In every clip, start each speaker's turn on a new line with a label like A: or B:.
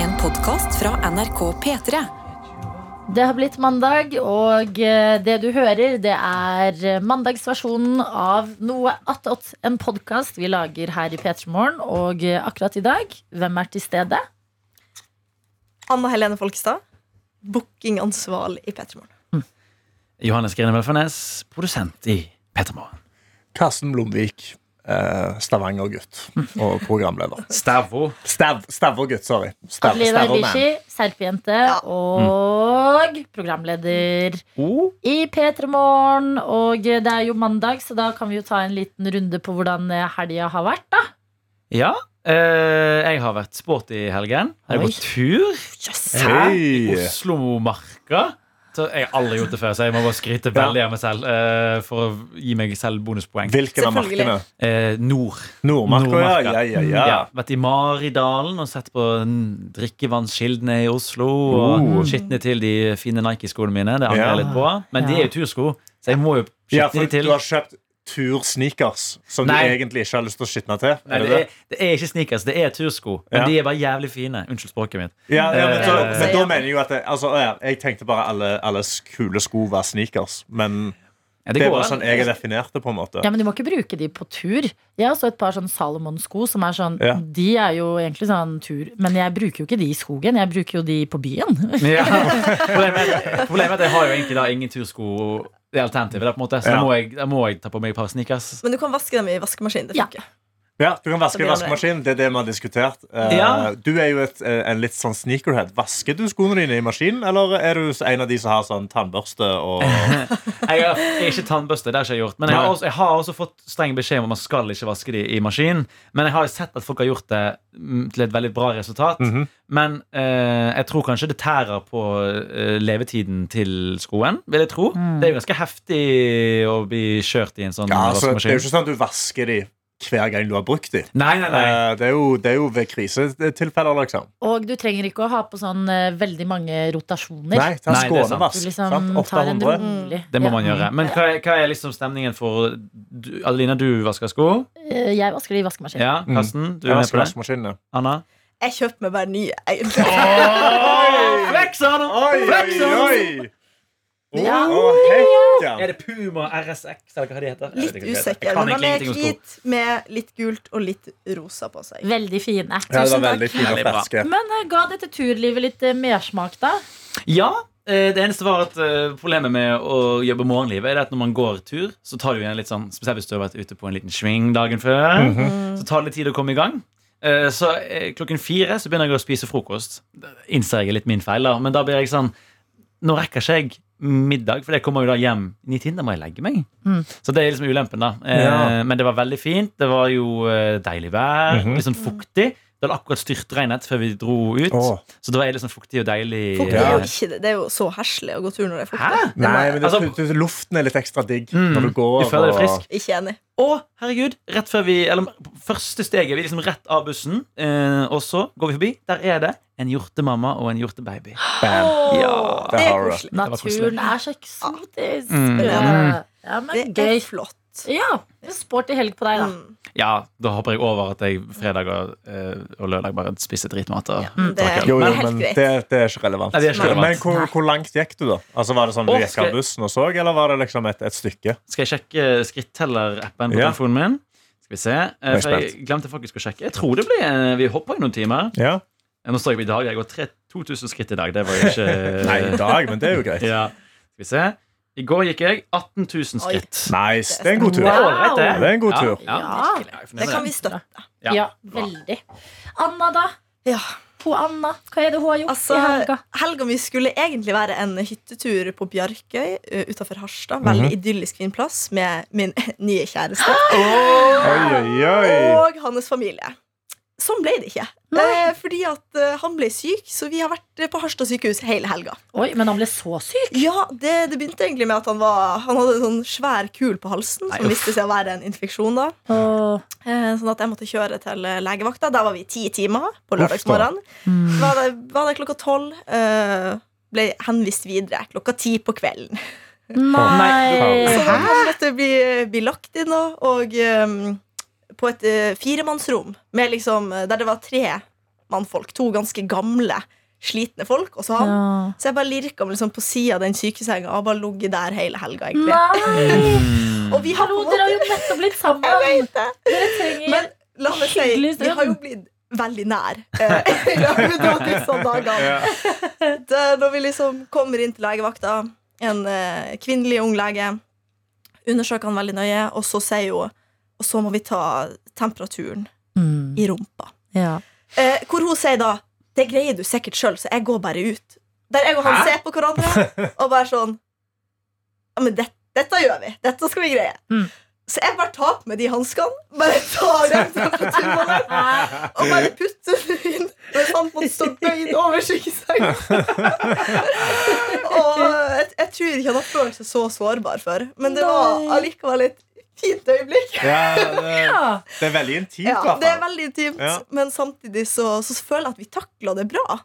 A: En podkast fra NRK P3.
B: Det har blitt mandag, og eh, det du hører, det er eh, mandagsversjonen av noe attåt. En podkast vi lager her i P3 Morgen, og eh, akkurat i dag, hvem er til stede?
C: Anna Helene Folkestad, bookingansvarlig i P3 Morgen.
D: Johannes Grine Velfernes, produsent i Petermorgen.
E: Karsten Blomvik, eh, Stavanger-gutt og programleder.
D: Stavro.
E: Stav, Stavr-gutt, sorry. Stav,
B: Adelina
E: Stavrman.
B: Ibishi, serpejente og programleder i P3 Morgen. Og eh, det er jo mandag, så da kan vi jo ta en liten runde på hvordan eh, helga har vært, da.
D: Ja. eh, jeg har vært sporty i helgen. Jeg har
B: Oi.
D: gått tur. Hæ? I
E: Hei!
D: Oslomarka. Så jeg har aldri gjort det før, så jeg må bare skryte veldig av meg selv eh, for å gi meg selv bonuspoeng.
E: Hvilken av
C: Selvfølgelig.
E: markene?
D: Eh, nord.
E: Nordmarka, ja, ja, ja, ja.
D: Ja, vært i Maridalen og sett på mm, drikkevannskildene i Oslo. Og
E: Oh.
D: skitne til de fine Nike-skoene mine. Det angrer
E: Ja.
D: jeg litt på. Men de er jo tursko, så jeg må jo
E: Ja,
D: skitne
E: for
D: de til.
E: du har kjøpt tursneakers som
D: Nei.
E: du egentlig ikke har lyst til å skitne til.
D: Nei,
E: er
D: det,
E: det det?
D: er, det er ikke sneakers, det er tursko. Men
E: Ja.
D: de er bare jævlig fine. Unnskyld språket mitt.
E: Ja, ja, men, så,
D: Eh,
E: men da mener jeg jo at det, altså, ja, Jeg tenkte bare alle, alle kule sko var sneakers. Men
D: Ja,
E: det,
D: går
E: var
D: an.
E: sånn jeg definerte det, på en måte.
B: Ja, men du må ikke bruke de på tur. Jeg har også et par sånn Salomon-sko som er sånn
E: Ja.
B: De er jo egentlig sånn tur, men jeg bruker jo ikke de i skogen. Jeg bruker jo de på byen.
D: Ja. Problemet, er- problemet er at jeg har jo egentlig da ingen tursko. Det er alternativet, da, på en måte. så da
E: Ja.
D: må, jeg, da må jeg ta på meg et par sneakers.
C: Men du kan vaske dem i vaskemaskinen. det
B: Ja.
C: funker.
E: Ja, Du kan vaske i
C: Da blir det
E: vaskemaskinen. Det er det vi har diskutert. Eh,
D: Ja.
E: Du er jo et, eh, en litt sånn sneakerhead. Vasker du skoene dine i maskinen, eller er du s- en av de som har sånn tannbørste og
D: Jeg har jeg er ikke tannbøste, det har ikke jeg gjort. Men jeg har,
E: Nei.
D: også, jeg har også fått streng beskjed om at man skal ikke vaske de i maskin. Men jeg har jo sett at folk har gjort det mm, til et veldig bra resultat.
E: Mhm.
D: Men eh, jeg tror kanskje det tærer på eh, levetiden til skoen, vil jeg tro. Det er jo ganske heftig å bli kjørt i en sånn
E: ja, altså, Det er jo
D: vaskemaskin.
E: ikke sånn at du vasker de hver gang du har brukt de.
D: Nei, nei, nei.
E: Eh, Det er jo, det er jo ved krisetilfeller, liksom.
B: Og du trenger ikke å ha på sånn eh, veldig mange rotasjoner.
E: Nei, ta
D: Nei, det er sant.
B: Du
E: skånevask.
B: liksom
E: sant?
B: tar en
E: 800.
B: rolig
D: Mm, Det må
B: Ja.
D: man gjøre. Men hva er, hva er liksom stemningen for du, Adelina, du vasker sko.
B: Eh, Jeg vasker de i vaskemaskinen.
D: Ja,
E: Mm.
D: Karsten, du
E: Ja,
D: er med
E: vask
D: på det.
E: vaskemaskinene.
D: Anna?
C: Jeg kjøper meg bare nye. egentlig.
D: Oh, flex, Anna!
E: Oi,
D: Flex,
E: oi,
D: Anna!
E: oi! Å,
B: Ja.
E: å,
D: Er
E: hekk, ja.
D: det Puma RSX, eller hva de heter? Jeg
C: Litt
D: vet ikke hva de heter. Jeg
C: usikker,
D: kan
C: men man
D: egentlig
C: er
D: ingenting om sko.
C: hvit med litt gult og litt rosa på seg.
B: Veldig fine.
E: Ja, det
C: Tusen
E: var
C: takk.
E: veldig fine
D: Veldig bra.
E: flasker.
B: Men eh, ga dette turlivet litt eh, mersmak, da?
D: Ja, eh, det eneste var at eh, problemet med å jobbe morgenlivet er det at når man går tur, så tar det jo igjen litt sånn, spesielt hvis du har vært ute på en liten sving dagen før,
E: Mhm.
D: så tar det litt tid å komme i gang. Eh, Så eh, klokken fire så begynner jeg å spise frokost. Innser jeg er litt min feil, da. Men da blir jeg sånn Nå rekker ikke jeg middag, for jeg kommer jo da hjem i nitiden. Da må jeg legge meg.
B: Mm.
D: Så det er liksom ulempen, da. Eh,
E: Ja.
D: Men det var veldig fint. Det var jo eh, deilig vær.
E: Mhm.
D: Litt sånn fuktig. Det hadde akkurat styrtregnet før vi dro ut.
E: Åh.
D: Så det var litt sånn fuktig og deilig.
C: Fuktig er jo
D: eh,
C: ikke det. Det er jo så heslig å gå tur når det er fuktig.
D: Hæ?
E: Nei, men det,
D: Altså-
E: du- du- luften er litt ekstra digg
D: Mm,
E: når du går.
D: Du føler deg frisk.
C: Ikke enig.
D: Å, herregud! Rett før vi Eller første steget. Vi er liksom rett av bussen, eh, og så går vi forbi. Der er det en hjortemamma og en hjortebaby.
E: Og, bam.
D: Ja.
C: det
E: Det
C: er
E: har du.
C: koselig.
D: var koselig.
B: Naturen er så eksotisk.
D: Mm.
B: Ja. ja,
C: Det
B: men
C: er
B: gøy.
C: flott.
B: Ja, sporty helg på deg, da.
C: Mm.
D: Ja, da hopper jeg over at jeg fredag og, eh, og lørdag bare spiser dritmat. Og,
C: Mm, Det er
D: takk.
E: Jo, jo,
C: helt
E: men det,
C: greit.
E: det er ikke relevant.
D: Nei, det er ikke relevant.
E: Men hvor, hvor langt gikk du, da? Altså, Var det sånn du
D: Å,
E: gikk
D: skal-
E: av bussen og så, eller var det liksom et, et stykke?
D: Skal jeg sjekke skritteller-appen på
E: Ja.
D: telefonen min? Skal vi se. Eh,
E: Jeg er
D: For jeg glemte faktisk å sjekke. Jeg tror det blir eh, Vi hopper i noen timer.
E: Ja.
D: Eh, Nå står jeg på i dag. Jeg går tre- 2000 skritt i dag. Det var jo ikke
E: Nei, i dag, men det er jo greit.
D: ja. Skal vi se. I går gikk jeg 18 000
C: Oi.
D: skritt.
E: Nice. Det er en god tur.
D: Det er
B: Wow.
D: ålreit,
E: Det er en god tur.
D: Ja,
B: Ja.
D: virkelig. Jeg er fornøyd
C: Det
D: med
C: kan vi støtte.
D: Ja.
B: Ja, veldig. Anna, da?
C: Ja.
B: På Anna, hva er det hun har gjort
C: Altså,
B: i helga?
C: Helga mi skulle egentlig være en hyttetur på Bjarkøy utafor Harstad. Veldig
D: Mhm.
C: idyllisk fin plass med min nye kjæreste.
E: Oi, oi, oi.
C: og hans familie. Sånn ble det ikke. Eh, fordi at eh, han ble syk, så vi har vært eh, på Harstad sykehus hele helga.
B: Oi, men han ble så syk!
C: Ja, det, det begynte egentlig med at han, var, han hadde en sånn svær kul på halsen,
D: Nei,
C: som
D: uff.
C: viste seg å være en infeksjon. da
B: Og,
C: eh, Sånn at jeg måtte kjøre til eh, legevakta. Der var vi i ti timer på
E: da.
C: lørdagsmorgen.
B: mm.
C: Var der, var der klokka tolv. Eh, ble henvist videre klokka ti på kvelden.
B: Nei!
E: Nei,
C: Så
B: Hæ?
C: han måtte bli, bli lagt inn da, og eh, på et eh, firemannsrom med liksom, eh, der det eh, var tre mannfolk. To ganske gamle, slitne folk. Og så han.
B: Ja.
C: Så jeg bare lirka meg liksom på sida av den sykesenga og bare ligget der hele helga. egentlig
B: Nei!
C: Og vi har på
B: Hallo,
C: en
B: dere har
C: måte
B: jo nettopp blitt
C: Jeg
B: sammen!
C: vet det.
B: Dere trenger
C: Men la meg si,
B: Hyggelig
C: vi har jo
B: stund.
C: blitt veldig nær. eh, i løpet av disse dagene. Det- Når vi liksom kommer inn til legevakta, en eh, kvinnelig ung lege undersøker han veldig nøye, og så sier hun Og så må vi ta temperaturen
B: Mm,
C: i rumpa.
B: ja.
C: Eh, hvor hun sier da Det greier du sikkert sjøl, så jeg går bare ut. Der jeg og han ser på hverandre og bare sånn Ja, men det, dette gjør vi. Dette skal vi greie.
B: Mm.
C: Så jeg bare tar på meg de hanskene, bare tar dem temperaturen og bare putter dem inn mens han måtte stå bøyd over skyggesenga. og jeg, jeg tror ikke han har følt seg så sårbar før, men det var
B: Nei.
C: allikevel et fint øyeblikk.
E: Ja, det,
B: ja.
E: det er veldig intimt, i
C: Ja,
E: hvert
C: det er
E: fall.
C: veldig intimt,
E: Ja.
C: men samtidig så, så føler jeg at vi takla det bra.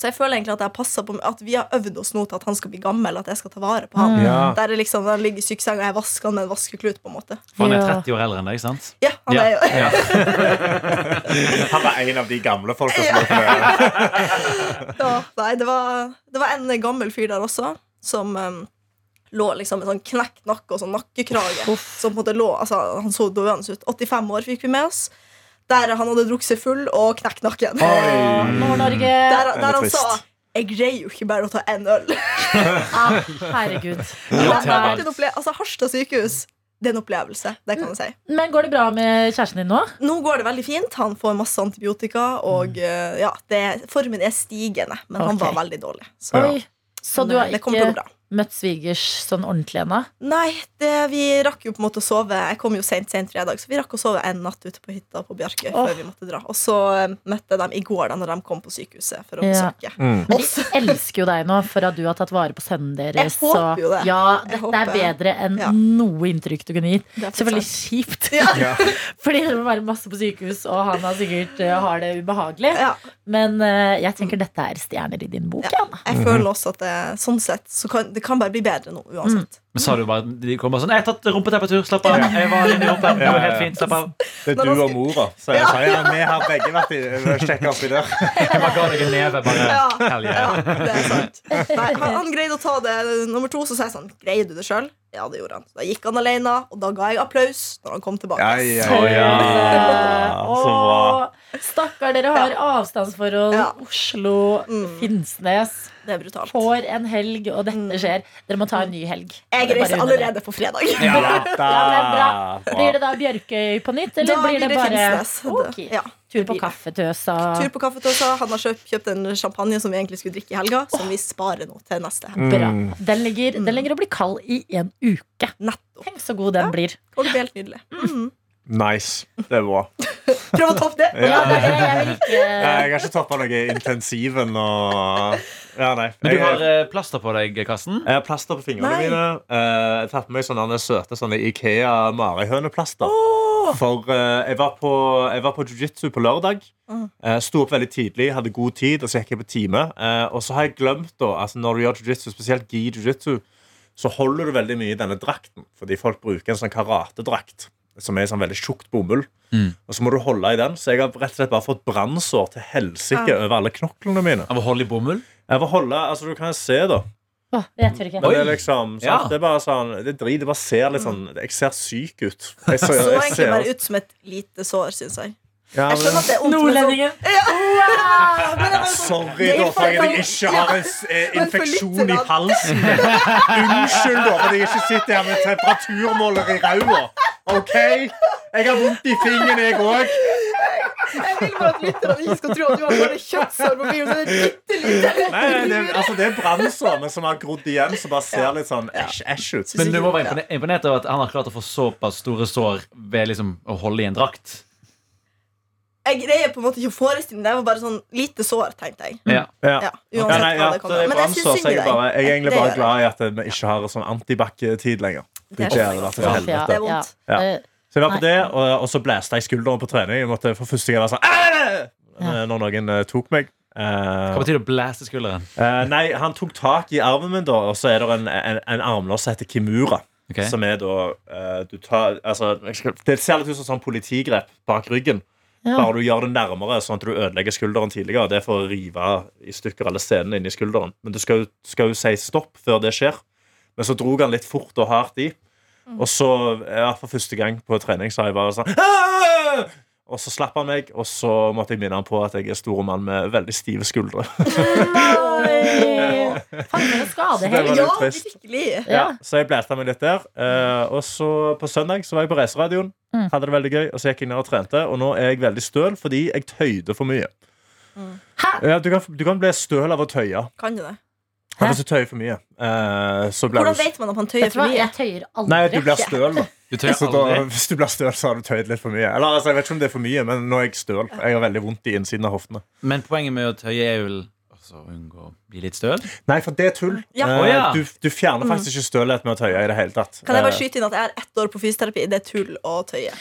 C: Så jeg føler egentlig at jeg passer på At vi har øvd oss nå til at han skal bli gammel, at jeg skal ta vare på han.
B: Mm.
E: Ja.
C: Der er liksom, han ligger i sykesenga, og jeg vasker han med en vaskeklut. på en måte
D: For han er
B: Ja.
D: 30 år eldre enn deg, sant?
C: Ja, han er jo
D: Ja.
E: Han var en av de gamle folka som lå der.
C: ja, Nei, det var, det var en gammel fyr der også, som em, lå liksom med sånn knekt nakke og sånn nakkekrage. Som på en måte lå, altså Han så døende ut. 85 år fikk vi med oss. Der han hadde drukket seg full og knekt nakken.
B: Og Nord-Norge
C: Der, der han
E: trist.
C: sa altså- 'Jeg greier jo ikke bare å ta én øl'.
B: ah, Herregud.
C: Det
D: Ja.
C: er en opple- altså Harstad sykehus det er en opplevelse. det kan jeg si
B: Men går det bra med kjæresten din nå?
C: Nå går det veldig fint. Han får masse antibiotika. Og eh, ja, det, Formen er stigende, men han
B: Ok.
C: var veldig dårlig. Så,
B: Oi. Så du har
C: det kommer til å gå
B: ikke
C: bra.
B: møtt svigers sånn ordentlig ennå?
C: Nei, det, vi rakk jo på en måte å sove Jeg kom jo sent, sent fredag, så vi rakk å sove en natt ute på hytta på Bjarkøy.
B: Åh.
C: Før vi måtte dra Og så eh, møtte jeg dem i går da når de kom på sykehuset for å
B: Ja.
C: besøke.
E: Mm.
B: Men
C: Oss.
B: de elsker jo deg nå for at du har tatt vare på sønnen deres.
C: Jeg håper jo det.
B: Ja,
C: Jeg
B: dette
C: håper
B: er bedre enn
C: Ja.
B: noe inntrykk du kunne gitt.
C: Det er
B: Selvfølgelig
C: sant.
B: kjipt,
C: Ja,
E: Ja.
B: fordi det må være masse på sykehus, og han har sikkert eh, har det ubehagelig.
C: ja.
B: Men eh, jeg tenker dette er stjerner i din bok.
C: Ja.
B: Ja.
C: Jeg føler også at det, sånn sett så kan, det kan bare bli bedre nå uansett.
D: Men sa du bare De kom bare sånn 'Jeg har tatt rumpetempatur. Slapp av.' Jeg var inne i rumpa. Det var helt fint. Slapp av.
E: Det er du og mora. Så jeg sa ja, vi har begge vært i- sjekket oppi der.
D: Jeg bare ga deg en neve. Bare.
C: Ja,
D: Hell
C: ja,
D: yeah.
C: det er sant. Nei, han, han greide å ta det nummer to, så sa jeg sånn Greier du det sjøl? Ja, det gjorde han. Da gikk han alene, og da ga jeg applaus når han kom tilbake.
E: Ja, ja,
D: Å,
E: ja. Så bra.
B: Åh, stakkar, dere har avstandsforhold.
C: Ja.
B: Oslo,
C: Mm.
B: Finnsnes.
C: Det er brutalt.
B: Får en helg, og dette skjer. Dere må ta en ny helg.
C: Jeg
B: Bare
C: reiser
B: unner dere.
C: allerede på fredag.
E: Ja,
B: Ja,
E: da.
B: Blir det da Bjørkøy på nytt, eller
C: da
B: blir det, bare
C: Finnsnes. Det-
B: Ok.
C: Ja.
B: tur på
C: blir det.
B: kaffetøsa?
C: Tur på kaffetåsa. Han har kjøpt, kjøpt en champagne som vi egentlig skulle drikke i helga, som vi sparer nå til neste helg.
B: Bra.
E: Mm.
B: Den ligger, den ligger og blir kald i en uke.
C: Nettopp.
B: Tenk så god den
C: Ja.
B: blir.
C: Og det blir helt nydelig. Mhm.
E: Nice. Det er bra.
C: Prøv å toppe det.
E: Ja.
B: Ja, det er, jeg vil
E: Eh, Jeg
B: ikke
E: har ikke toppa noe intensiven og Ja, nei.
D: Men du
E: Jeg-
D: har eh, plaster på deg, Karsten.
E: Jeg har Eh, plaster på fingrene
C: Nei.
E: mine. Eh, Jeg tar på meg sånne søte sånne Ikea marihøneplaster. For eh, jeg var på, jeg var på jiu-jitsu på lørdag.
C: Mm.
E: Eh, Sto opp veldig tidlig, hadde god tid, og så gikk jeg på time. Eh, Og så har jeg glemt, da, altså når du gjør jiu-jitsu, spesielt gi jiu-jitsu, så holder du veldig mye i denne drakten. Fordi folk bruker en sånn karatedrakt som er sånn veldig tjukt bomull.
D: Mm.
E: Og så må du holde i den. Så jeg har rett og slett bare fått brannsår til helsike
C: Ah.
E: over alle knoklene mine.
D: Av å holde i bomull.
E: Jeg vil holde, altså Du kan se, da.
B: Åh, Jeg tør ikke.
E: Men det er
D: Oi.
E: liksom sant?
D: Ja.
E: Det er bare sånn Det er drit. Det bare ser litt sånn Jeg ser syk ut. Jeg
C: Så egentlig
E: ser-
C: bare ut som et lite sår, syns jeg.
E: ja,
C: Jeg skjønner at det er vondt, men sånn-
B: Nordlendingen. Wow!
C: Men det er bare sånn-
E: Sorry,
C: Det er
E: da, for at
C: for-
E: jeg ikke har en s- eh,
C: Men for
E: infeksjon
C: lytterne.
E: i halsen. Unnskyld, da, for at jeg ikke sitter her med temperaturmåler i ræva. OK? Jeg har vondt i fingeren, jeg òg.
C: Jeg vil bare at lytterne ikke skal tro at du har bare kjøttsår på bilen. Så det er bitte lite.
E: Det, er- altså, det er brannsår, men som har grodd igjen, som bare ser litt sånn æsj æsj ut.
D: Men du må være impone- imponert over at han har klart å få såpass store sår ved liksom å holde i en drakt.
C: Jeg greier på en måte ikke å forestille meg det. Det var bare sånn lite sår, tenkte jeg.
D: Ja.
C: Ja,
E: Ja,
C: uansett
E: nei,
C: hva
E: at
C: det kom
E: det er
C: Men jeg
E: brannsår,
C: syns
E: så
C: synd i
E: jeg, er
C: deg.
E: bare, jeg er egentlig
C: Det
E: bare
C: gjør
E: glad i at vi ikke har sånn antibac-tid lenger. Det
C: Det er
E: hadde vært
B: Ja,
E: et helvete.
B: ja.
E: Ja.
B: Eh,
E: Så jeg var på det, og, og så blæste jeg skulderen på trening. Jeg måtte for første gang være sånn «Æ!»
B: Ja.
E: Når noen eh, tok meg. Eh,
D: Hva betyr det å blæste skulderen?
E: eh, nei, han tok tak i armen min, da, og så er det en, en, en armlås som heter kimura.
D: Ok.
E: Som er da eh, du tar, altså, jeg skal, Det ser litt ut som sånn politigrep bak ryggen.
B: Ja.
E: Bare du gjør det nærmere, sånn at du ødelegger skulderen tidligere. Det er for å rive i stykker alle scenene inni skulderen. Men du skal, jo- skal jo si stopp før det skjer. Men så drog han litt fort og hardt i. Og så, ja, for første gang på trening, så har jeg bare sånn «Aah!» Og så slapp han meg, og så måtte jeg minne han på at jeg er stor mann med veldig stive skuldre.
B: Oi! Faen, for en
E: Det var
B: skadehelg.
E: litt
C: Ja,
E: trist.
C: virkelig.
B: Ja.
E: Så jeg blæsta meg litt der. Eh, og så på søndag så var jeg på Reiseradioen.
B: Mm.
E: Hadde det veldig gøy, og så gikk jeg ned og trente. Og nå er jeg veldig støl fordi jeg tøyde for mye.
B: Hæ?
E: Ja, du, kan, du kan bli støl av å tøye.
C: Kan du det?
E: Men Hvis du tøyer for mye, eh, så blir
C: Hvordan
E: du
C: vet man om han tøyer
B: Vet du hva,
C: for mye?
B: jeg tøyer
E: Nei, du
B: aldri.
E: blir støl, da.
D: Du tør
E: Så da.
D: aldri.
E: Hvis du blir støl, så har du tøyd litt for mye. Eller altså, Jeg vet ikke om det er for mye, men nå er jeg støl. Jeg har veldig vondt i innsiden av hoftene.
D: Men poenget med å tøye er vel også å unngå å bli litt støl.
E: Nei, for det er tull.
C: Ja. Mm.
E: Eh,
D: Å, ja.
E: du, du fjerner faktisk ikke stølhet med å tøye i det hele tatt.
C: Kan jeg bare
E: Eh,
C: skyte inn at jeg er ett år på fysioterapi? Det er tull å tøye.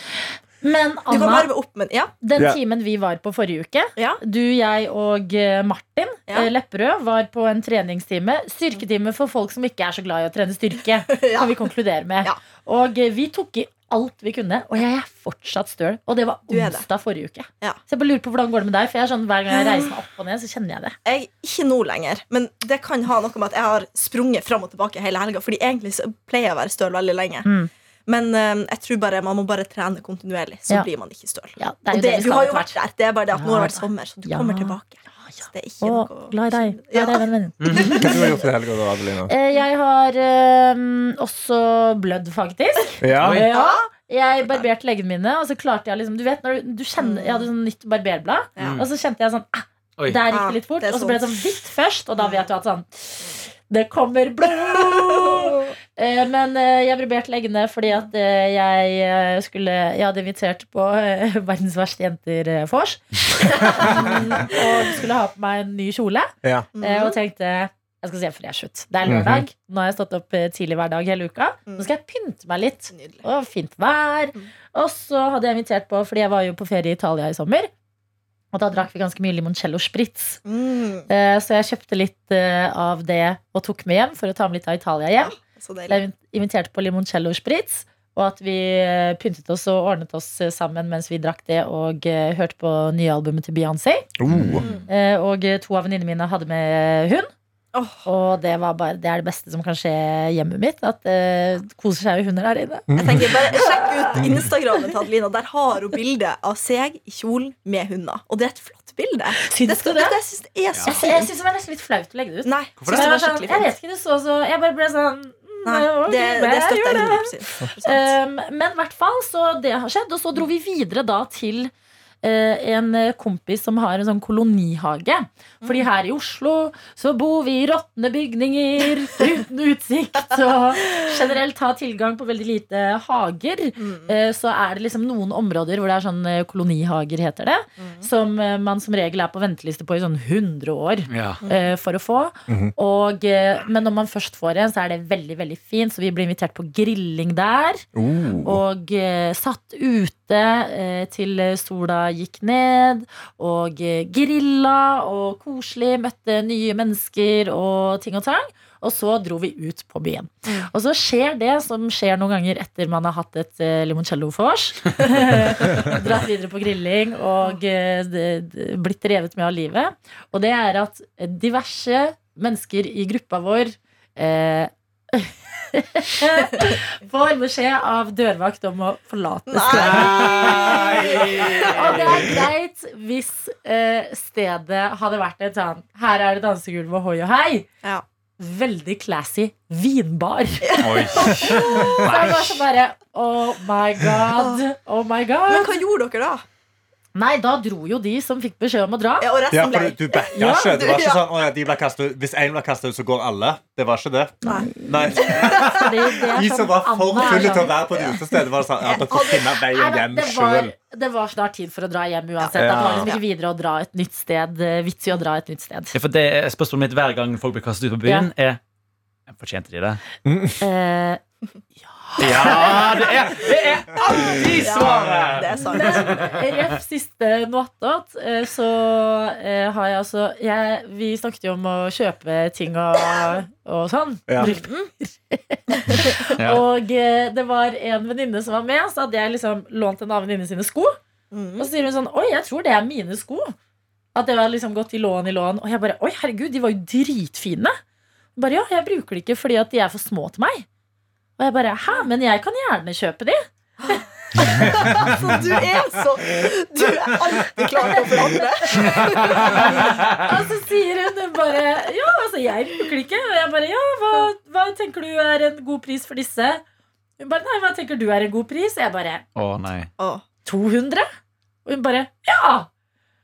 B: Men
C: Du kan
B: Anna,
C: varme opp, men ja.
B: den
E: Ja.
B: timen vi var på forrige uke
C: ja.
B: Du, jeg og eh, Martin
C: Ja.
B: eh, Lepperød var på en treningstime. Styrketime for folk som ikke er så glad i å trene styrke.
C: Ja.
B: Kan vi konkludere med
C: Ja.
B: Og eh, vi tok i alt vi kunne, og jeg er fortsatt støl. Og det var
C: Du er det.
B: onsdag forrige uke.
C: Ja.
B: Så jeg bare lurer på hvordan går det med deg, for jeg er sånn, hver gang jeg reiser meg opp og ned, så kjenner jeg det.
C: Jeg Ikke nå lenger, men det kan ha noe med at jeg har sprunget fram og tilbake hele helga. Fordi egentlig så pleier jeg å være støl veldig lenge.
B: Mm.
C: Men eh, jeg tror bare man må bare trene kontinuerlig, så
B: Ja.
C: blir man ikke støl.
B: Ja, det er
C: Og
B: jo
C: det,
B: det vi
C: du
B: skal
C: har
B: etter
C: jo vært
B: hvert.
C: der. Det er bare det at nå har det vært
B: Ja.
C: sommer, så du
B: Ja.
C: kommer tilbake. Så det er ikke
B: Å,
C: noe
B: glad i deg. Glad i
C: Ja. Mm.
B: deg, vennen min.
E: Hva har du gjort i helga, da, Adelina?
B: Eh, Jeg har eh, også blødd, faktisk.
E: Ja.
D: Oi.
B: Ja. Jeg barberte leggene mine, og så klarte jeg liksom Du vet, når du, du kjenner Jeg hadde sånn nytt barberblad,
C: Ja.
B: og så kjente jeg sånn ah,
D: Oi.
B: Der gikk
C: Ah,
B: det litt fort,
C: det er
B: og så ble det sånn hvitt først, og da vet du at sånn Det kommer blod! Eh, Men eh, jeg barberte leggene fordi at eh, jeg eh, skulle Jeg hadde invitert på eh, Verdens verste jenter-vors. og skulle ha på meg en ny kjole.
E: Ja.
B: Eh, Og tenkte jeg skal se fresh ut. Det er lørdag. Nå har jeg stått opp eh, tidlig hver dag hele uka. Nå skal jeg pynte meg litt.
C: Nydelig.
B: Og fint vær. Og så hadde jeg invitert på, fordi jeg var jo på ferie i Italia i sommer. Og da drakk vi ganske mye limoncello spritz.
C: Mm.
B: Eh, Så jeg kjøpte litt eh, av det og tok med hjem for å ta med litt av Italia hjem.
C: Så deilig.
B: Jeg inviterte på limoncello spritz, og at vi eh, pyntet oss og ordnet oss eh, sammen mens vi drakk det og eh, hørte på nye albumet til Beyoncé.
E: Oh.
B: Eh, Og eh, to av venninnene mine hadde med hund,
C: Åh,
B: og det, var bare, det er det beste som kan skje i hjemmet mitt. At eh, det koser seg jo hunder der inne.
C: jeg tenker bare Sjekk ut
B: Mm.
C: Instagrammen til Adelina. Der har hun bilde av seg i kjolen med hunder. Og det er et flott bilde.
B: Syns du
C: skal-
B: det?
C: jeg syns det er så
B: Jeg, jeg
C: fint.
B: syns det var nesten litt flaut å legge det ut.
C: Nei, syns
D: Hvorfor
B: Men
C: det
B: jeg,
C: var
B: var sånn, jeg
C: skikkelig fint.
B: vet ikke, det så så Jeg bare ble sånn mm,
C: Nei,
B: ok, men
C: det, det
B: jeg gjør
C: støtter
B: det.
C: jeg 100 prosent.
B: Um, men i hvert fall, så det har skjedd. Og så dro vi videre da til eh, en eh, kompis som har en sånn kolonihage. Fordi her i Oslo så bor vi i råtne bygninger uten utsikt. Og generelt har tilgang på veldig lite hager. Eh, så er det liksom noen områder hvor det er sånn eh, kolonihager, heter det. Som eh, man som regel er på venteliste på i sånn 100 år
D: Ja.
B: eh, for å få.
E: Mhm.
B: og, eh, men når man først får en, så er det veldig veldig fint. Så vi ble invitert på grilling der.
E: Oh.
B: Og eh, satt ute eh, til sola gikk ned. Og eh, grilla og koselig. Møtte nye mennesker og ting og tang. Og så dro vi ut på byen. Og så skjer det som skjer noen ganger etter man har hatt et eh, limoncello-vors. Dratt videre på grilling og eh, d- d- blitt revet med av livet. Og det er at diverse mennesker i gruppa vår eh, får beskjed av dørvakt om å forlate stedet. Og det er greit hvis eh, stedet hadde vært et sånn Her er det dansegulv og hoi og hei.
C: Ja.
B: Veldig classy vinbar.
D: Oi.
B: Så jeg var sånn bare Oh my god. Oh my god.
C: Men hva gjorde dere da?
B: Nei, da dro jo de som fikk beskjed om å dra.
C: Ja, og
E: Ja,
C: resten
E: for
C: ble
E: du, du backa
B: Ja,
E: ikke.
C: du-
E: Det var
C: ja.
E: ikke sånn, «Å ja, de ble kastet ut. Hvis én blir kasta ut, så går alle. Det var ikke det.
C: Nei.
E: Nei.
B: Fordi det er
E: De som var for
B: Anna er
E: fulle til å
B: sånn-
E: være på et utested, var sånn ja, Dere får finne
B: Nei,
E: veien
B: men
E: hjem
B: det,
E: sjøl.
B: var, det var snart tid for å dra hjem uansett.
E: Ja.
B: Det var liksom ikke videre å dra et nytt sted. eh, Vits i å dra et nytt sted.
D: Ja, for det er Spørsmålet mitt hver gang folk blir kastet ut på byen, er Fortjente de det?
B: Eh,
D: Ja, det er, det er alltid
C: Ja,
D: svaret!
C: det er sant.
B: Ref siste noatot, eh, så eh, har jeg altså jeg, Vi snakket jo om å kjøpe ting og, og sånn.
E: Ja.
B: Bruke
D: Ja.
B: Og eh, det var en venninne som var med, så hadde jeg liksom lånt en annen venninne sine sko. Og så sier hun sånn Oi, jeg tror det er mine sko. At det var liksom gått i lån i lån. Og jeg bare Oi, herregud, de var jo dritfine. Hun Bare ja, jeg bruker de ikke fordi at de er for små til meg. Og jeg bare Hæ, men jeg kan gjerne kjøpe de.
C: Altså, du er så Du er alltid klar til å forhandle.
B: Og så sier hun bare Ja, altså, jeg bruker det ikke. Og jeg bare Ja, hva, hva tenker du er en god pris for disse? Hun bare Nei, hva tenker du er en god pris? Jeg bare
D: Å nei.
B: 200? Og hun bare Ja!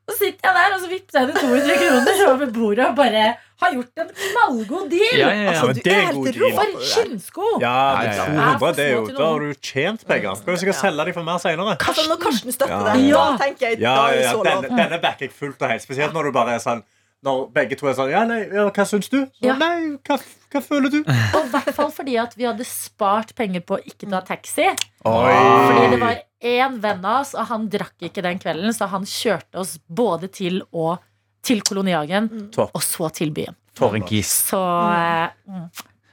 B: Og så sitter jeg der, og så vipper jeg henne 200 kroner over bordet og bare har gjort en knallgod deal!
D: Ja, ja, ja.
E: Altså,
C: du er
E: det er
C: helt
E: god
C: rå.
E: deal.
B: For skinnsko!
E: Ja,
D: Nei,
E: men
D: ja, ja.
E: 200, det er
B: Er for
E: jo,
B: små til
E: da har du tjent penger. Skal vi sikkert selge dem for mer senere?
C: Altså, når Karsten støtter
E: Ja.
C: det, da
B: Ja.
C: tenker jeg
E: Ja,
C: da er
E: ja,
C: det
E: ja.
C: så lov.
E: Denne, denne backer jeg fullt og helt. Spesielt når du bare er sånn Når begge to er sånn Ja, nei, ja, hva syns du? Så,
B: Ja.
E: Nei, hva, hva føler du?
B: Og i hvert fall fordi at vi hadde spart penger på å ikke ta taxi. Fordi det
E: Oi!
B: var én venn av oss, og han drakk ikke den kvelden, så han kjørte oss både til og til Kolonihagen,
E: Topp.
B: og så til byen.
D: For en gis.
B: Så eh,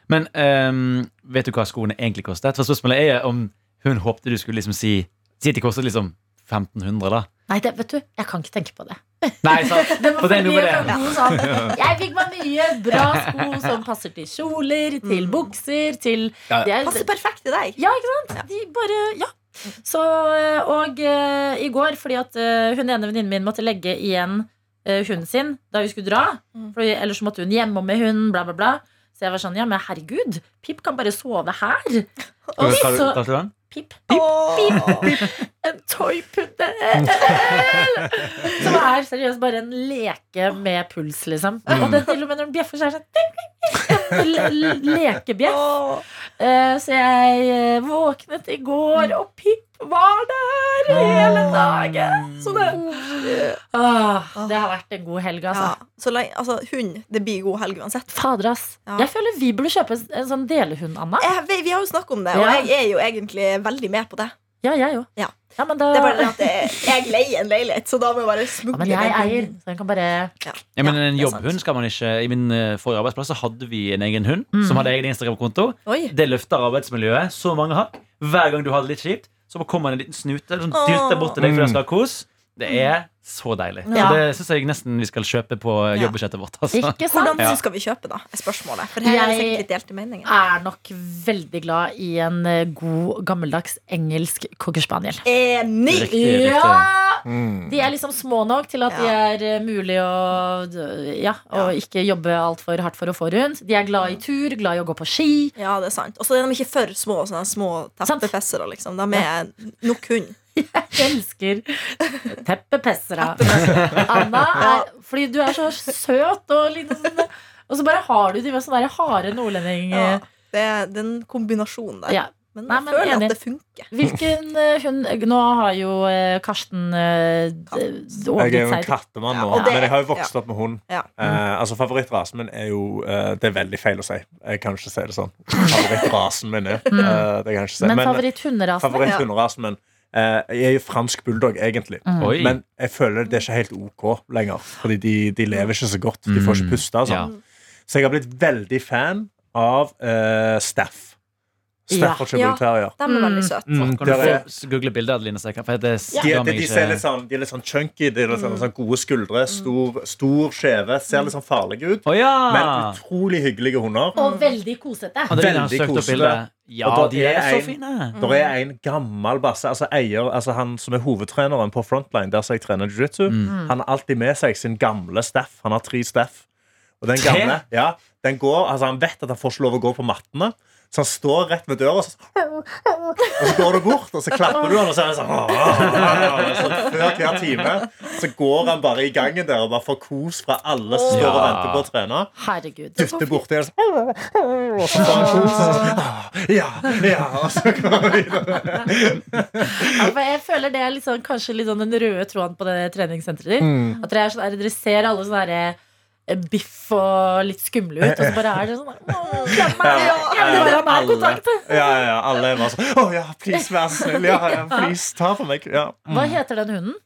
D: Men ehm, vet du hva skoene egentlig kostet? For spørsmålet er om hun håpte du skulle liksom si Si at de kostet liksom 1500, da.
B: Nei, det, vet du, jeg kan ikke tenke på det.
D: Nei, sant?
B: Det var for
D: For det er noe
B: mye
D: med det.
B: for noe sånn. Jeg fikk meg mye bra sko som passer til kjoler,
D: Mm.
B: til bukser, til
E: Ja.
B: det er-
C: Passer perfekt til deg.
B: Ja, ikke sant? De bare, ja så, eh, Og eh, i går, fordi at eh, hun ene venninnen min måtte legge igjen eh, hunden sin da vi skulle dra,
C: Mm.
B: for ellers så måtte hun hjemme med hunden, bla, bla, bla. Så jeg var sånn, ja, men herregud, Pip kan bare sove her. Og
D: Tar du,
B: så
D: tar du den?
B: Pip,
C: Åh.
B: en toyputte Som er seriøst bare en leke med puls, liksom. Og det er til og med når den bjeffer, så er det sånn en le- Lekebjeff.
C: Åh.
B: Eh, Så jeg eh, våknet i går, og Pip var der hele dagen. Så det,
C: Ah.
B: Åh, det har vært en god helg, altså.
C: Ja. Så lenge, altså, hund, det blir god helg uansett.
B: Fader, ass.
C: Ja.
B: Jeg føler vi burde kjøpe en- en sånn delehund, Anna.
C: Jeg, vi, vi har jo snakket om det, og
B: Ja.
C: jeg er jo egentlig veldig med på det.
B: Ja, jeg òg.
C: Ja.
B: men da
C: Det er bare det at jeg, jeg leier en leilighet, så da må jeg bare
B: ja,
C: smugle
B: men jeg
C: den hunden.
B: eier, så den kan bare
D: Ja, men en
C: det er sant.
D: jobbhund skal man ikke I min eh, forrige arbeidsplass så hadde vi en egen hund
B: Mm.
D: som hadde egen Instagram-konto.
C: Oi.
D: Det løfter arbeidsmiljøet så mange hakk. Hver gang du har det litt kjipt, så bare kommer det en sånn liten snute som
C: Åh.
D: dyrter bort til deg fordi
E: Mm.
D: den skal ha kos. Det er så deilig.
B: Ja.
D: Så det syns jeg nesten vi skal kjøpe på
C: Ja.
D: jobbebudsjettet vårt. Altså.
B: Ikke sant?
C: Hvordan skal vi kjøpe, da? Er spørsmålet. For her er det
B: Jeg-
C: sikkert litt delte meninger.
B: er nok veldig glad i en eh, god, gammeldags engelsk cocker spaniel.
C: Eh, Enig!
D: Riktig, riktig.
B: Ja!
E: Mm.
B: De er liksom små nok til at de er eh, mulig å ja, og ikke jobbe altfor hardt for å få rundt. De er glad i tur, glad i å gå på ski.
C: Ja, det er sant. Og så er de ikke for små, sånne små
B: Sant.
C: teppefessere, liksom. De er nok hund.
B: Jeg elsker teppepessere. Anna er Fordi du er så søt og litt sånn Og så bare har du de med sånne der harde nordlending... eh,
C: Ja. Det er den kombinasjonen der.
B: Ja.
C: Men
B: Nei,
C: jeg
B: men
C: føler
B: enig.
C: at det funker.
B: Hvilken eh, hund Nå har jo eh, Karsten eh, d-
E: Jeg er
B: overgitt
E: jo en
B: seg.
E: kattemann nå,
C: og det-
E: men jeg har jo vokst opp med hund.
C: Ja.
B: Mhm.
E: Eh, altså Favorittrasen min er jo eh, Det er veldig feil å si. Jeg kan ikke si det sånn. Favorittrasen min er eh, Det kan jeg ikke si.
B: Mm. Men
E: Men, eh,
B: favoritthunderasen?
E: favoritthunderasen min eh, Jeg er jo fransk bulldog, egentlig.
B: Mm.
D: Oi.
E: Men jeg føler det er ikke helt OK lenger. Fordi de, de lever ikke så godt. De
C: Mm.
E: får ikke puste.
D: altså,
E: og sånn. Så jeg har blitt veldig fan av eh, Staff.
B: Ja.
E: Staffordshire Bull Terrier.
C: De er veldig
B: Mm.
C: søte.
E: Mm,
D: Kan du
E: der er-
D: få google bildet av Adeline Sekan? For det
E: de,
D: skammer
E: de,
D: meg
E: de, ser litt
D: ikke.
E: sånn, de er litt sånn chunky, de er litt sånn, sånn gode skuldre, stor, stor skjeve. Ser litt sånn farlige ut,
D: Å ja!
E: men
D: Ah.
E: utrolig hyggelige hunder.
B: Og veldig kosete.
D: Adeline har
E: veldig
D: søkt opp
E: koselig.
D: bildet. Ja,
E: Og da
D: de
E: er
D: er så
E: en-
D: fine.
E: Det er en gammel basse, altså eier, altså han som er hovedtreneren på Frontline, der som jeg trener jiu-jitsu, han har alltid med seg sin gamle staff. Han har tre staff. Og den
D: Tre?
E: gamle, ja, den går, altså han vet at han får ikke lov å gå på mattene, så han står rett ved døra, og så, og så går du bort, og så klapper du han, og så er han sånn, så før hver time, så går han bare i gangen der, og bare får kos fra alle som står og
D: Ja.
E: venter på å trene
B: Herregud.
E: dytter borti og sånn Og så får han kos, og så sånn Ja, ja. Og så kommer han videre.
B: Ja, for jeg føler det er litt sånn, kanskje litt sånn den røde tråden på det treningssenteret ditt.
E: Mm.
B: At dere, er sånn, der, dere ser alle sånne der, eh, biff og litt skumle ut, og så bare er det sånn Åh, klem meg!
E: Ja,
B: Jeg vil bare ha mer kontakt!
E: Ja, ja, ja, alle er bare sånn Å ja, please, vær så snill. Ja, ja, please, ta for meg. Ja.
B: Hva heter den hunden?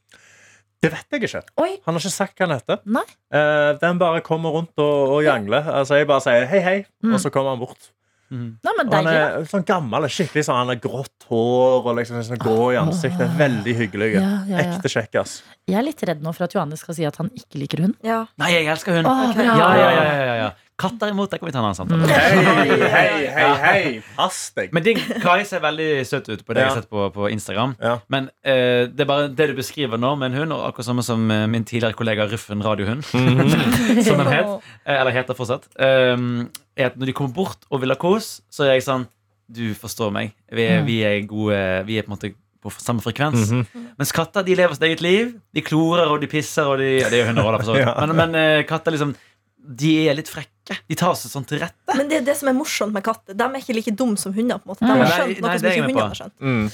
E: Det vet jeg ikke.
B: Oi.
E: Han har ikke sagt hva han heter.
B: Nei.
E: Eh, den bare kommer rundt og, og jangler. Altså, jeg bare sier hei, hei, og så kommer han bort.
B: Nei, men Mm.
E: Og han
B: deilig, da.
E: er sånn gammel og skikkelig sånn Han har grått hår og liksom sånn grå i ansiktet. Veldig hyggelig.
B: Ja, ja, ja.
E: Ekte kjekk, ass.
B: Jeg er litt redd nå for at Johannes skal si at han ikke liker hund.
C: Ja.
D: Nei, jeg elsker hund.
B: Åh,
C: Ok.
B: bra.
D: Ja, ja, ja, ja, ja. Katter imot, der kan vi ta en annen samtale.
E: Hei, hei, hei, hei. Pass deg.
D: Men din Kai ser veldig søt ut på det jeg
E: Ja.
D: har sett på, på Instagram.
E: Ja.
D: Men eh, det er bare det du beskriver nå med en hund, og akkurat samme som eh, min tidligere kollega Ruffen Radiohund,
E: Mm-hmm.
D: som han het, eh, eller heter fortsatt, ehm, er at når de kommer bort og vil ha kos, så er jeg sånn Du forstår meg. Vi er, vi er gode Vi er på en måte på samme frekvens.
E: Mhm. Mm-hmm.
D: Mens katter de lever sitt eget liv. De klorer og de pisser og de ja, Det er jo hunder også, da, for så vidt.
E: Ja.
D: Men, men eh, katter liksom De er litt frekke. De tar seg sånn til rette.
C: Men det er det som er morsomt med katter. De er ikke like dumme som hunder. på en måte De
B: Mm.
C: har
D: Nei,
C: skjønt
D: nei,
C: noe som
D: det er
C: ikke
D: jeg med
C: hunder
D: på.
C: har skjønt.
E: Mm.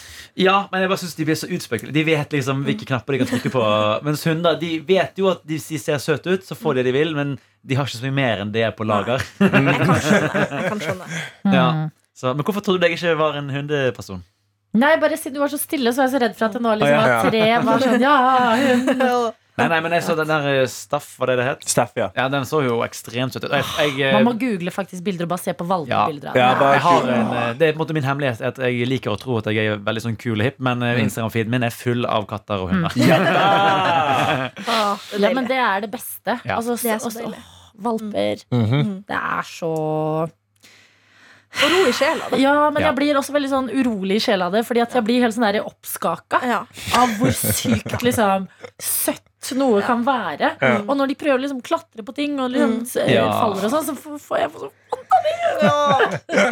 D: Ja, men jeg bare synes de blir så utspekulert. De vet liksom hvilke knapper de kan trykke på. Mens hunder de vet jo at de, de ser søte ut, så får de det de vil, men de har ikke så mye mer enn det på lager.
C: Jeg kan skjønne. Jeg kan skjønne.
B: Mm.
D: Ja. Så, men hvorfor trodde du jeg ikke var en hundeperson?
B: Nei, bare siden du var så stille, så var jeg så redd for at det nå liksom
E: Å, ja,
B: var
E: ja.
B: tre var sånn Ja, hund.
D: Nei, nei, men jeg så den der eh, Staff, var det det het?
E: Steff, ja.
D: Ja, den så jo ekstremt søt ut. Jeg, jeg, eh,
B: Man må google faktisk bilder og bare se på
D: Ja.
B: valpebilder. av
E: Ja,
B: den.
E: bare
D: jeg har
E: kul.
D: en, eh, det er på en måte min hemmelighet at jeg liker å tro at jeg er veldig sånn kul og hipp, men eh, Instagram-feeden min er full av katter og hunder.
C: Ah, det er
B: Ja,
C: deilig.
B: men det er det beste.
D: Ja.
B: Altså,
C: Det er så
B: også-
C: deilig.
B: åh, valper. Det er så
C: Og ro i sjela, da.
B: Ja, men
D: Ja.
B: jeg blir også veldig sånn urolig i sjela av det, fordi at jeg blir helt sånn der oppskaka.
C: Ja.
B: av hvor sykt liksom, søtt noe kan være.
E: Ja.
B: Og når de prøver å liksom, klatre på ting og liksom, s-
D: Ja.
B: faller og sånn, så f- får jeg få sånn
C: Men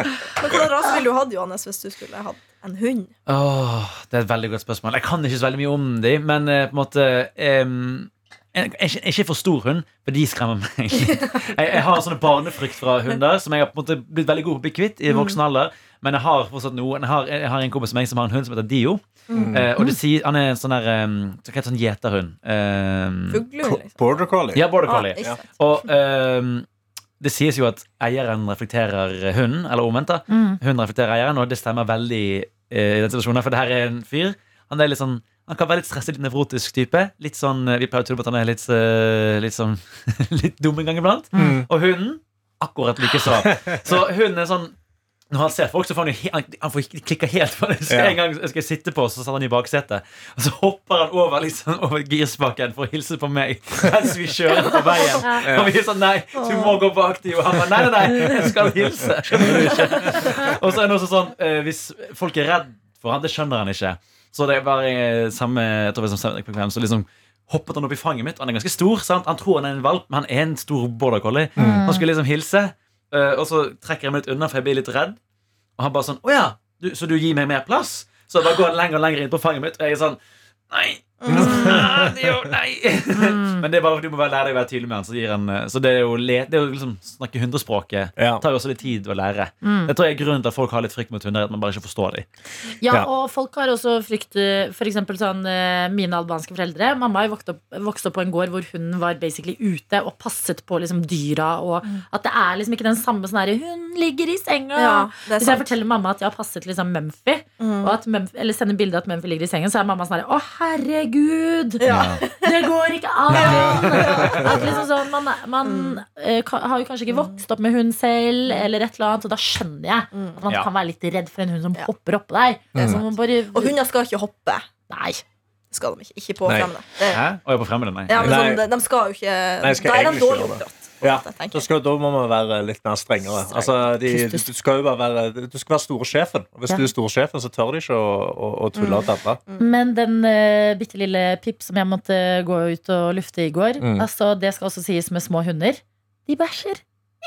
C: hvordan rase ville du hatt, Johannes, hvis du skulle hatt en hund?
D: Åh, det er et veldig godt spørsmål. Jeg kan ikke så veldig mye om de, men eh, på en måte em, jeg, jeg, er ikke- jeg er ikke for stor hund, for de skremmer meg. litt. jeg, jeg har sånne barnefrykt fra hunder som jeg har på en måte blitt veldig god på å bli kvitt i voksen alder. Men jeg har fortsatt noen. Jeg har, jeg har en kompis som, meg som har en hund som heter Dio. Eh, og det sier, han er en sånn der um, Hva heter sånn gjeterhund? Em,
C: Fuglehund, liksom.
E: Border collie.
D: ja, border
C: Ah,
D: collie.
C: ikke sant.
D: Og ehm, det sies jo at eieren reflekterer hunden, eller omvendt. da Hunden reflekterer eieren, og det stemmer veldig eh, i den situasjonen. For det her er en fyr. Han er litt sånn han kan være litt stresset, litt nevrotisk type. Litt sånn, eh, Vi pleier å tro på at han er litt, eh, litt sånn Litt dum en gang iblant.
E: Mm.
D: Og hunden akkurat likeså. Så hunden er sånn når han ser folk, så får han jo he- han, han får ikke klikka helt. For det. Så
E: Ja.
D: En gang skal jeg sitte på, så satt han i baksetet. Og så hopper han over, liksom, over girspaken for å hilse på meg mens vi kjører på veien. Og vi er sånn Nei, du må gå bak de. Og han bare Nei, nei, nei, jeg skal hilse. Skjønner du ikke? Og så er det også sånn eh, Hvis folk er redd for han, det skjønner han ikke. Så det var eh, samme jeg tror det var som Henrik Beckham, så liksom hoppet han opp i fanget mitt. Han er ganske stor. sant? Han tror han er en valp, men han er en stor border collie. Han skulle liksom hilse, eh, og så trekker jeg meg litt unna, for jeg blir litt redd. Og han bare sånn Å ja, du, så du gir meg mer plass? Så da går han lenger og lenger inn på fanget mitt, og jeg er sånn Nei. Ah, det er jo, nei. Men det er bare, du må bare lære deg å være tydelig med han. Så, gir han, eh, så det er jo, le, det er jo liksom snakke hundespråket.
E: Ja.
D: Det tar jo også litt tid å lære. Det tror jeg er grunnen til at folk har litt frykt mot hunder. At man bare ikke forstår dem.
B: Ja,
E: Ja.
B: og folk har også frykt eh, For eksempel sånn eh, mine albanske foreldre. Mamma har jo vokst opp, vokst opp på en gård hvor hun var basically ute og passet på liksom, dyra. Og
C: Mm.
B: at det er liksom ikke den samme sånn herre Hun ligger i senga.
C: Ja,
B: Hvis
C: det er
B: jeg
C: sant. Mm.
B: forteller mamma at jeg har passet liksom Mumphy, og at Mumphy, eller sender bilde av at Mumphy ligger i sengen, så er mamma sånn herre Å, herregud! Det går ikke an! At liksom sånn, man man eh, ka- har jo kanskje ikke vokst opp med hund selv, eller et eller annet, og da skjønner jeg at man
D: Ja.
B: kan være litt redd for en hund som
C: Ja.
B: hopper oppå deg.
C: Det er
B: Så
C: sant.
B: man bare,
C: Og hunder skal ikke hoppe.
B: Nei.
C: Det Skal de ikke. Ikke på
E: Nei.
C: fremmede. Det-
D: Hæ? Å, jeg er på fremmede, nei.
C: Ja, men sånn,
E: Nei.
C: de, de skal jo ikke
E: Nei, skal
C: Da er de
E: egentlig ikke
C: dårlig
E: gjøre det.
C: oppdratt.
E: Ja,
C: Det tenker
E: da,
C: jeg.
E: skal, da må man være litt mer strengere. Altså, de,
B: Kustus.
E: du skal jo bare være Du skal være store sjefen. Og Hvis
B: Ja.
E: du er store sjefen, så tør de ikke å, å, å tulle
C: Mm.
E: og dabbe.
B: Men den uh, bitte lille pip som jeg måtte gå ut og lufte i går,
E: Mm.
B: altså, det skal også sies med små hunder. De bæsjer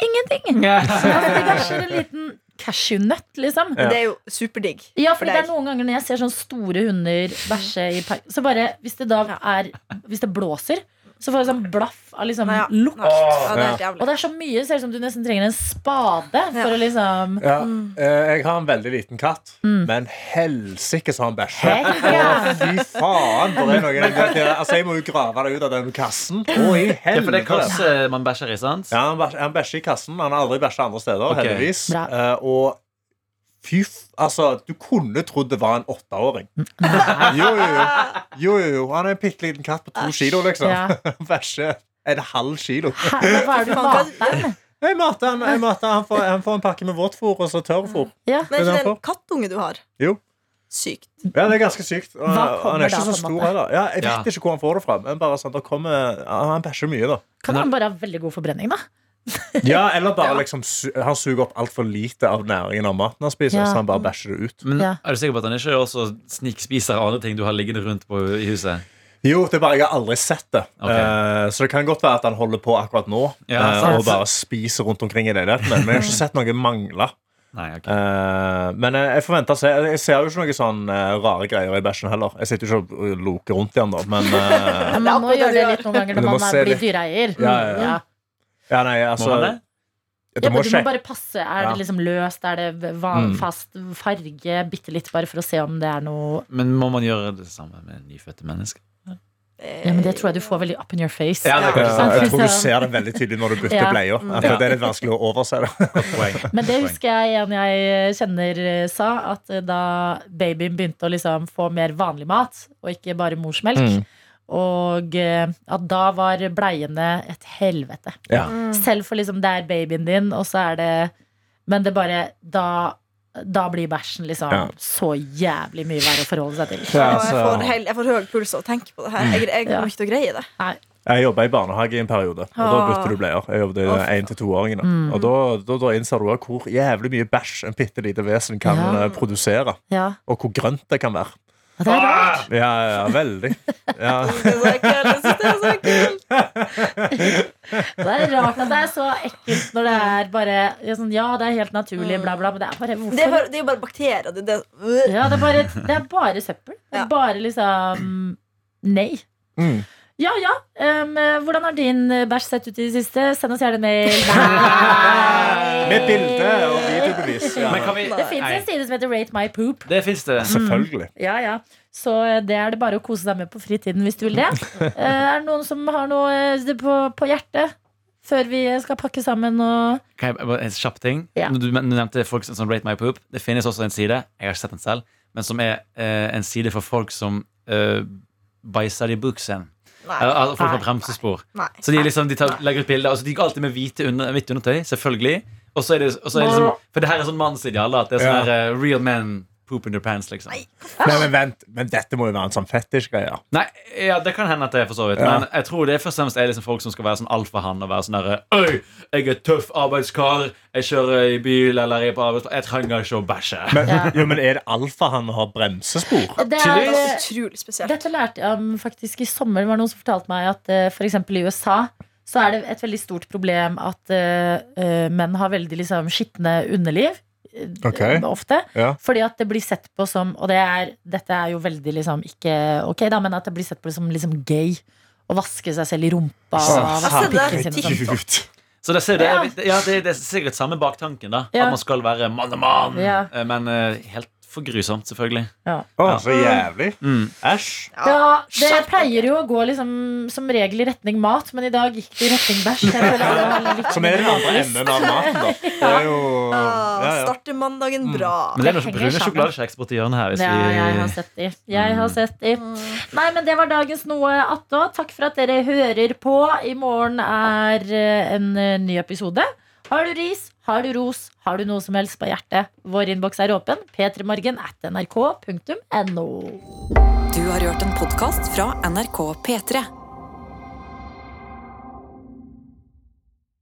B: ingenting!
D: Ja.
B: Altså, de bæsjer en liten cashewnøtt, liksom.
C: Men det er jo superdigg.
B: Ja,
C: for
B: fordi det er
C: deg.
B: noen ganger når jeg ser sånne store hunder bæsje i park Så bare, hvis det da er Hvis det blåser, så får jeg sånn blaff av liksom
C: Nei, ja.
B: lukt.
C: Nei. Ja, det er helt
B: Og
C: jævlig.
B: det er så mye, det ser ut som du nesten trenger en spade for
C: Ja.
B: å liksom
E: Ja. eh, Jeg har en veldig liten katt, men helsike så han bæsjer.
B: Helt
E: Å,
B: jævlig.
E: Fy faen! Det er noe, altså, jeg må jo grave det ut av den kassen. Å, i
D: Ja, for det er
E: helvete!
D: kasse man bæsjer i, sant?
E: Ja, han bæsjer, han bæsjer i kassen. Han har aldri bæsja andre steder,
D: Ok.
E: heldigvis.
B: Bra.
E: Eh, og fy f... Altså, du kunne trodd det var en åtteåring.
B: Mm.
E: Jo, jo, jo. jo, jo, jo. Han er en bitte liten katt på to kilo, liksom.
B: Ja.
E: Han Bæsjer en halv kilo.
B: Hæ, Hva er det du
C: Faen,
B: mater den?
E: Jeg mater han, jeg mater han, får, han får en pakke med vårt fôr og så tørrfôr.
B: Ja.
C: Men er ikke
E: Men
C: det
E: derfor-
C: en kattunge du har?
E: Jo.
C: Sykt.
E: Ja, det er ganske sykt. Og,
B: Hva kommer
E: han er
B: da,
E: ikke
B: på
E: så
B: en
E: stor
B: måte?
E: heller. Ja, jeg vet
D: Ja.
E: ikke hvor han får det fra. Men bare sånn, der kommer, han bæsjer mye, da.
B: Kan han bare ha veldig god forbrenning, da?
E: Ja, Eller bare liksom su han suger opp altfor lite av næringen av maten han spiser.
B: Ja.
E: Så han bare bæsjer det ut.
D: Men
B: Ja.
D: er du sikker på at han ikke også snikspiser andre ting du har liggende rundt på i huset?
E: Jo, det er bare jeg har aldri sett det.
D: Ok.
E: Eh, så det kan godt være at han holder på akkurat nå
D: Ja,
E: eh,
D: sant.
E: og bare spiser rundt omkring i leiligheten. Men jeg har ikke sett noe mangle.
D: Nei, ok
E: Eh, men jeg, jeg forventer å se Jeg ser jo ikke noen sånn eh, rare greier i bæsjen heller. Jeg sitter jo ikke og loker rundt i den, da. Men eh,
B: Ja, man må
C: akkurat det
B: gjøre det
C: de
B: litt noen ganger
E: Men du
B: når
E: må
B: man
E: se
B: er, blir
E: litt.
B: dyreeier.
E: Ja, ja, ja. ja, nei, altså
D: Må han det?
B: Ja,
E: Det
B: men
E: må
B: du må
E: skje.
B: bare passe. Er
E: Ja. Mm.
B: det liksom løst? Er det van, fast farge? Bitte litt, bare for å se om det er noe
D: Men må man gjøre det samme med nyfødte mennesker?
C: eh,
B: Ja, men Det tror jeg du får veldig up in your face.
D: Ja, det kan
E: Ja,
D: jeg
B: Sant?
E: jeg tror du
B: Hvis, eh,
E: ser det veldig tydelig når du bytter
B: Ja.
E: bleia. At
D: Ja.
E: Det er litt vanskelig å overse det.
D: Godt poeng.
B: Men det
D: Godt poeng.
B: husker jeg en jeg kjenner eh, sa, at eh, da babyen begynte å liksom få mer vanlig mat, og ikke bare morsmelk,
E: Mm.
B: og eh, at da var bleiene et helvete.
E: Ja.
B: Selv for liksom det er babyen din, og så er det Men det bare Da, da blir bæsjen liksom
E: Ja.
B: så jævlig mye verre å forholde seg til.
E: Ja,
C: Og jeg, får
E: altså,
C: hel, jeg får høy puls av å tenke på det her. Jeg, jeg
B: Ja.
C: kommer ikke til å greie det.
E: jeg jobba i barnehage i en periode, og da bytter du bleier. Jeg jobbet i
C: Å,
E: én- til toåringene. Og da, da, da innser du også hvor jævlig mye bæsj en bitte lite vesen kan
B: Ja.
E: eh, produsere.
B: Ja,
E: Og hvor grønt det kan være.
B: og det er rart.
E: Ja, ja, ja, veldig. Ja.
C: Det er så ekkelt. Jeg synes det er så ekkelt.
B: Det er rart at det er så ekkelt når det er bare ja, sånn, Ja, det er helt naturlig, bla, bla, men Mm. det er bare hvorfor?
C: Det er bare- det er jo bare bakterier. Det, det, øh.
B: Ja, det er bare, det er bare søppel. Det
C: Ja.
B: er bare liksom Nei.
E: Mm.
B: Ja ja, um, hvordan har din eh, bæsj sett ut i det siste? Send oss gjerne mail. Nei.
E: Med bilde og videobevis. Ja.
D: Men kan vi
B: Det fins
D: Nei.
B: en side som heter Rate my poop.
D: Det fins det.
E: Selvfølgelig.
B: Ja, ja. Så eh, det er det bare å kose deg med på fritiden hvis du vil det. Eh, Er det noen som har noe eh, på, på hjertet før vi eh, skal pakke sammen og
D: Kan jeg bare En kjapp ting.
B: Ja.
D: Du men- du nevnte folk som som rate my poop. Det finnes også en side, jeg har ikke sett den selv, men som er eh, en side for folk som eh, bæsjer i buksen.
C: Nei.
D: Eller, eller folk
B: Nei.
D: har bremsespor.
C: Nei.
D: Så de, liksom, de tar, legger ut bilder. Altså, de går alltid med hvite under, hvitt undertøy, selvfølgelig. Og så er det, og så er det liksom, For det her er sånn mannsideal. da, At det er sånn
E: Ja.
D: her, eh, real men poop in their pants, liksom. Nei.
E: Nei, men vent, men dette må jo være en sånn fetisj-greie.
D: ja, Det kan hende at det er for så vidt.
E: Ja.
D: Men jeg tror det er først og fremst er liksom folk som skal være sånn alfahann og være sånn derre Øy, jeg er tøff arbeidskar. Jeg kjører i bil eller jeg er på arbeidsplass. Jeg trenger ikke å bæsje.
E: Men,
B: Ja.
E: jo, men er det alfa han har bremsespor?
B: Det er,
C: Det
B: eh,
C: er utrolig spesielt.
B: Dette lærte jeg om faktisk i sommer. Det var noen som fortalte meg at eh, for eksempel i USA så er det et veldig stort problem at eh, eh, menn har veldig liksom skitne underliv. eh,
E: Ok.
B: Ofte.
E: Ja.
B: Fordi at det blir sett på som Og det er, dette er jo veldig liksom ikke ok, da, men at det blir sett på som liksom gay å vaske seg selv i rumpa.
E: Ah,
B: Og vaske
C: herregud.
B: pikken sin og sånn.
E: Gud.
D: Så det, ser, det,
B: Ja.
D: er, ja, det, det er sikkert samme baktanken, da.
B: Ja.
D: At man skal være mann og mann.
B: Ja.
D: Eh, Men eh, helt for grusomt, selvfølgelig.
E: Å, så jævlig.
D: Mm.
E: Æsj.
B: Ja, det
C: Skjerp dere.
B: pleier jo å gå liksom som regel i retning mat, men i dag gikk det i retning bæsj. Jeg føler at det var litt-
E: Som er den andre enden av maten, da. Det er jo
C: Ah,
E: ja, ja.
C: Starter mandagen
B: Mm.
C: bra.
D: Men det er noen
B: henger
D: brune
B: sammen.
D: sjokoladekjeks borti hjørnet her. Hvis
B: Ja, jeg har
D: vi, Mm.
B: sett de. Jeg har sett de. Nei, men det var dagens noe attå. Takk for at dere hører på. I morgen er eh, en eh, ny episode. Har du ris, har du ros, har du noe som helst på hjertet? Vår innboks er åpen. P3morgen at nrk.no.
A: Du har hørt en podkast fra NRK P3.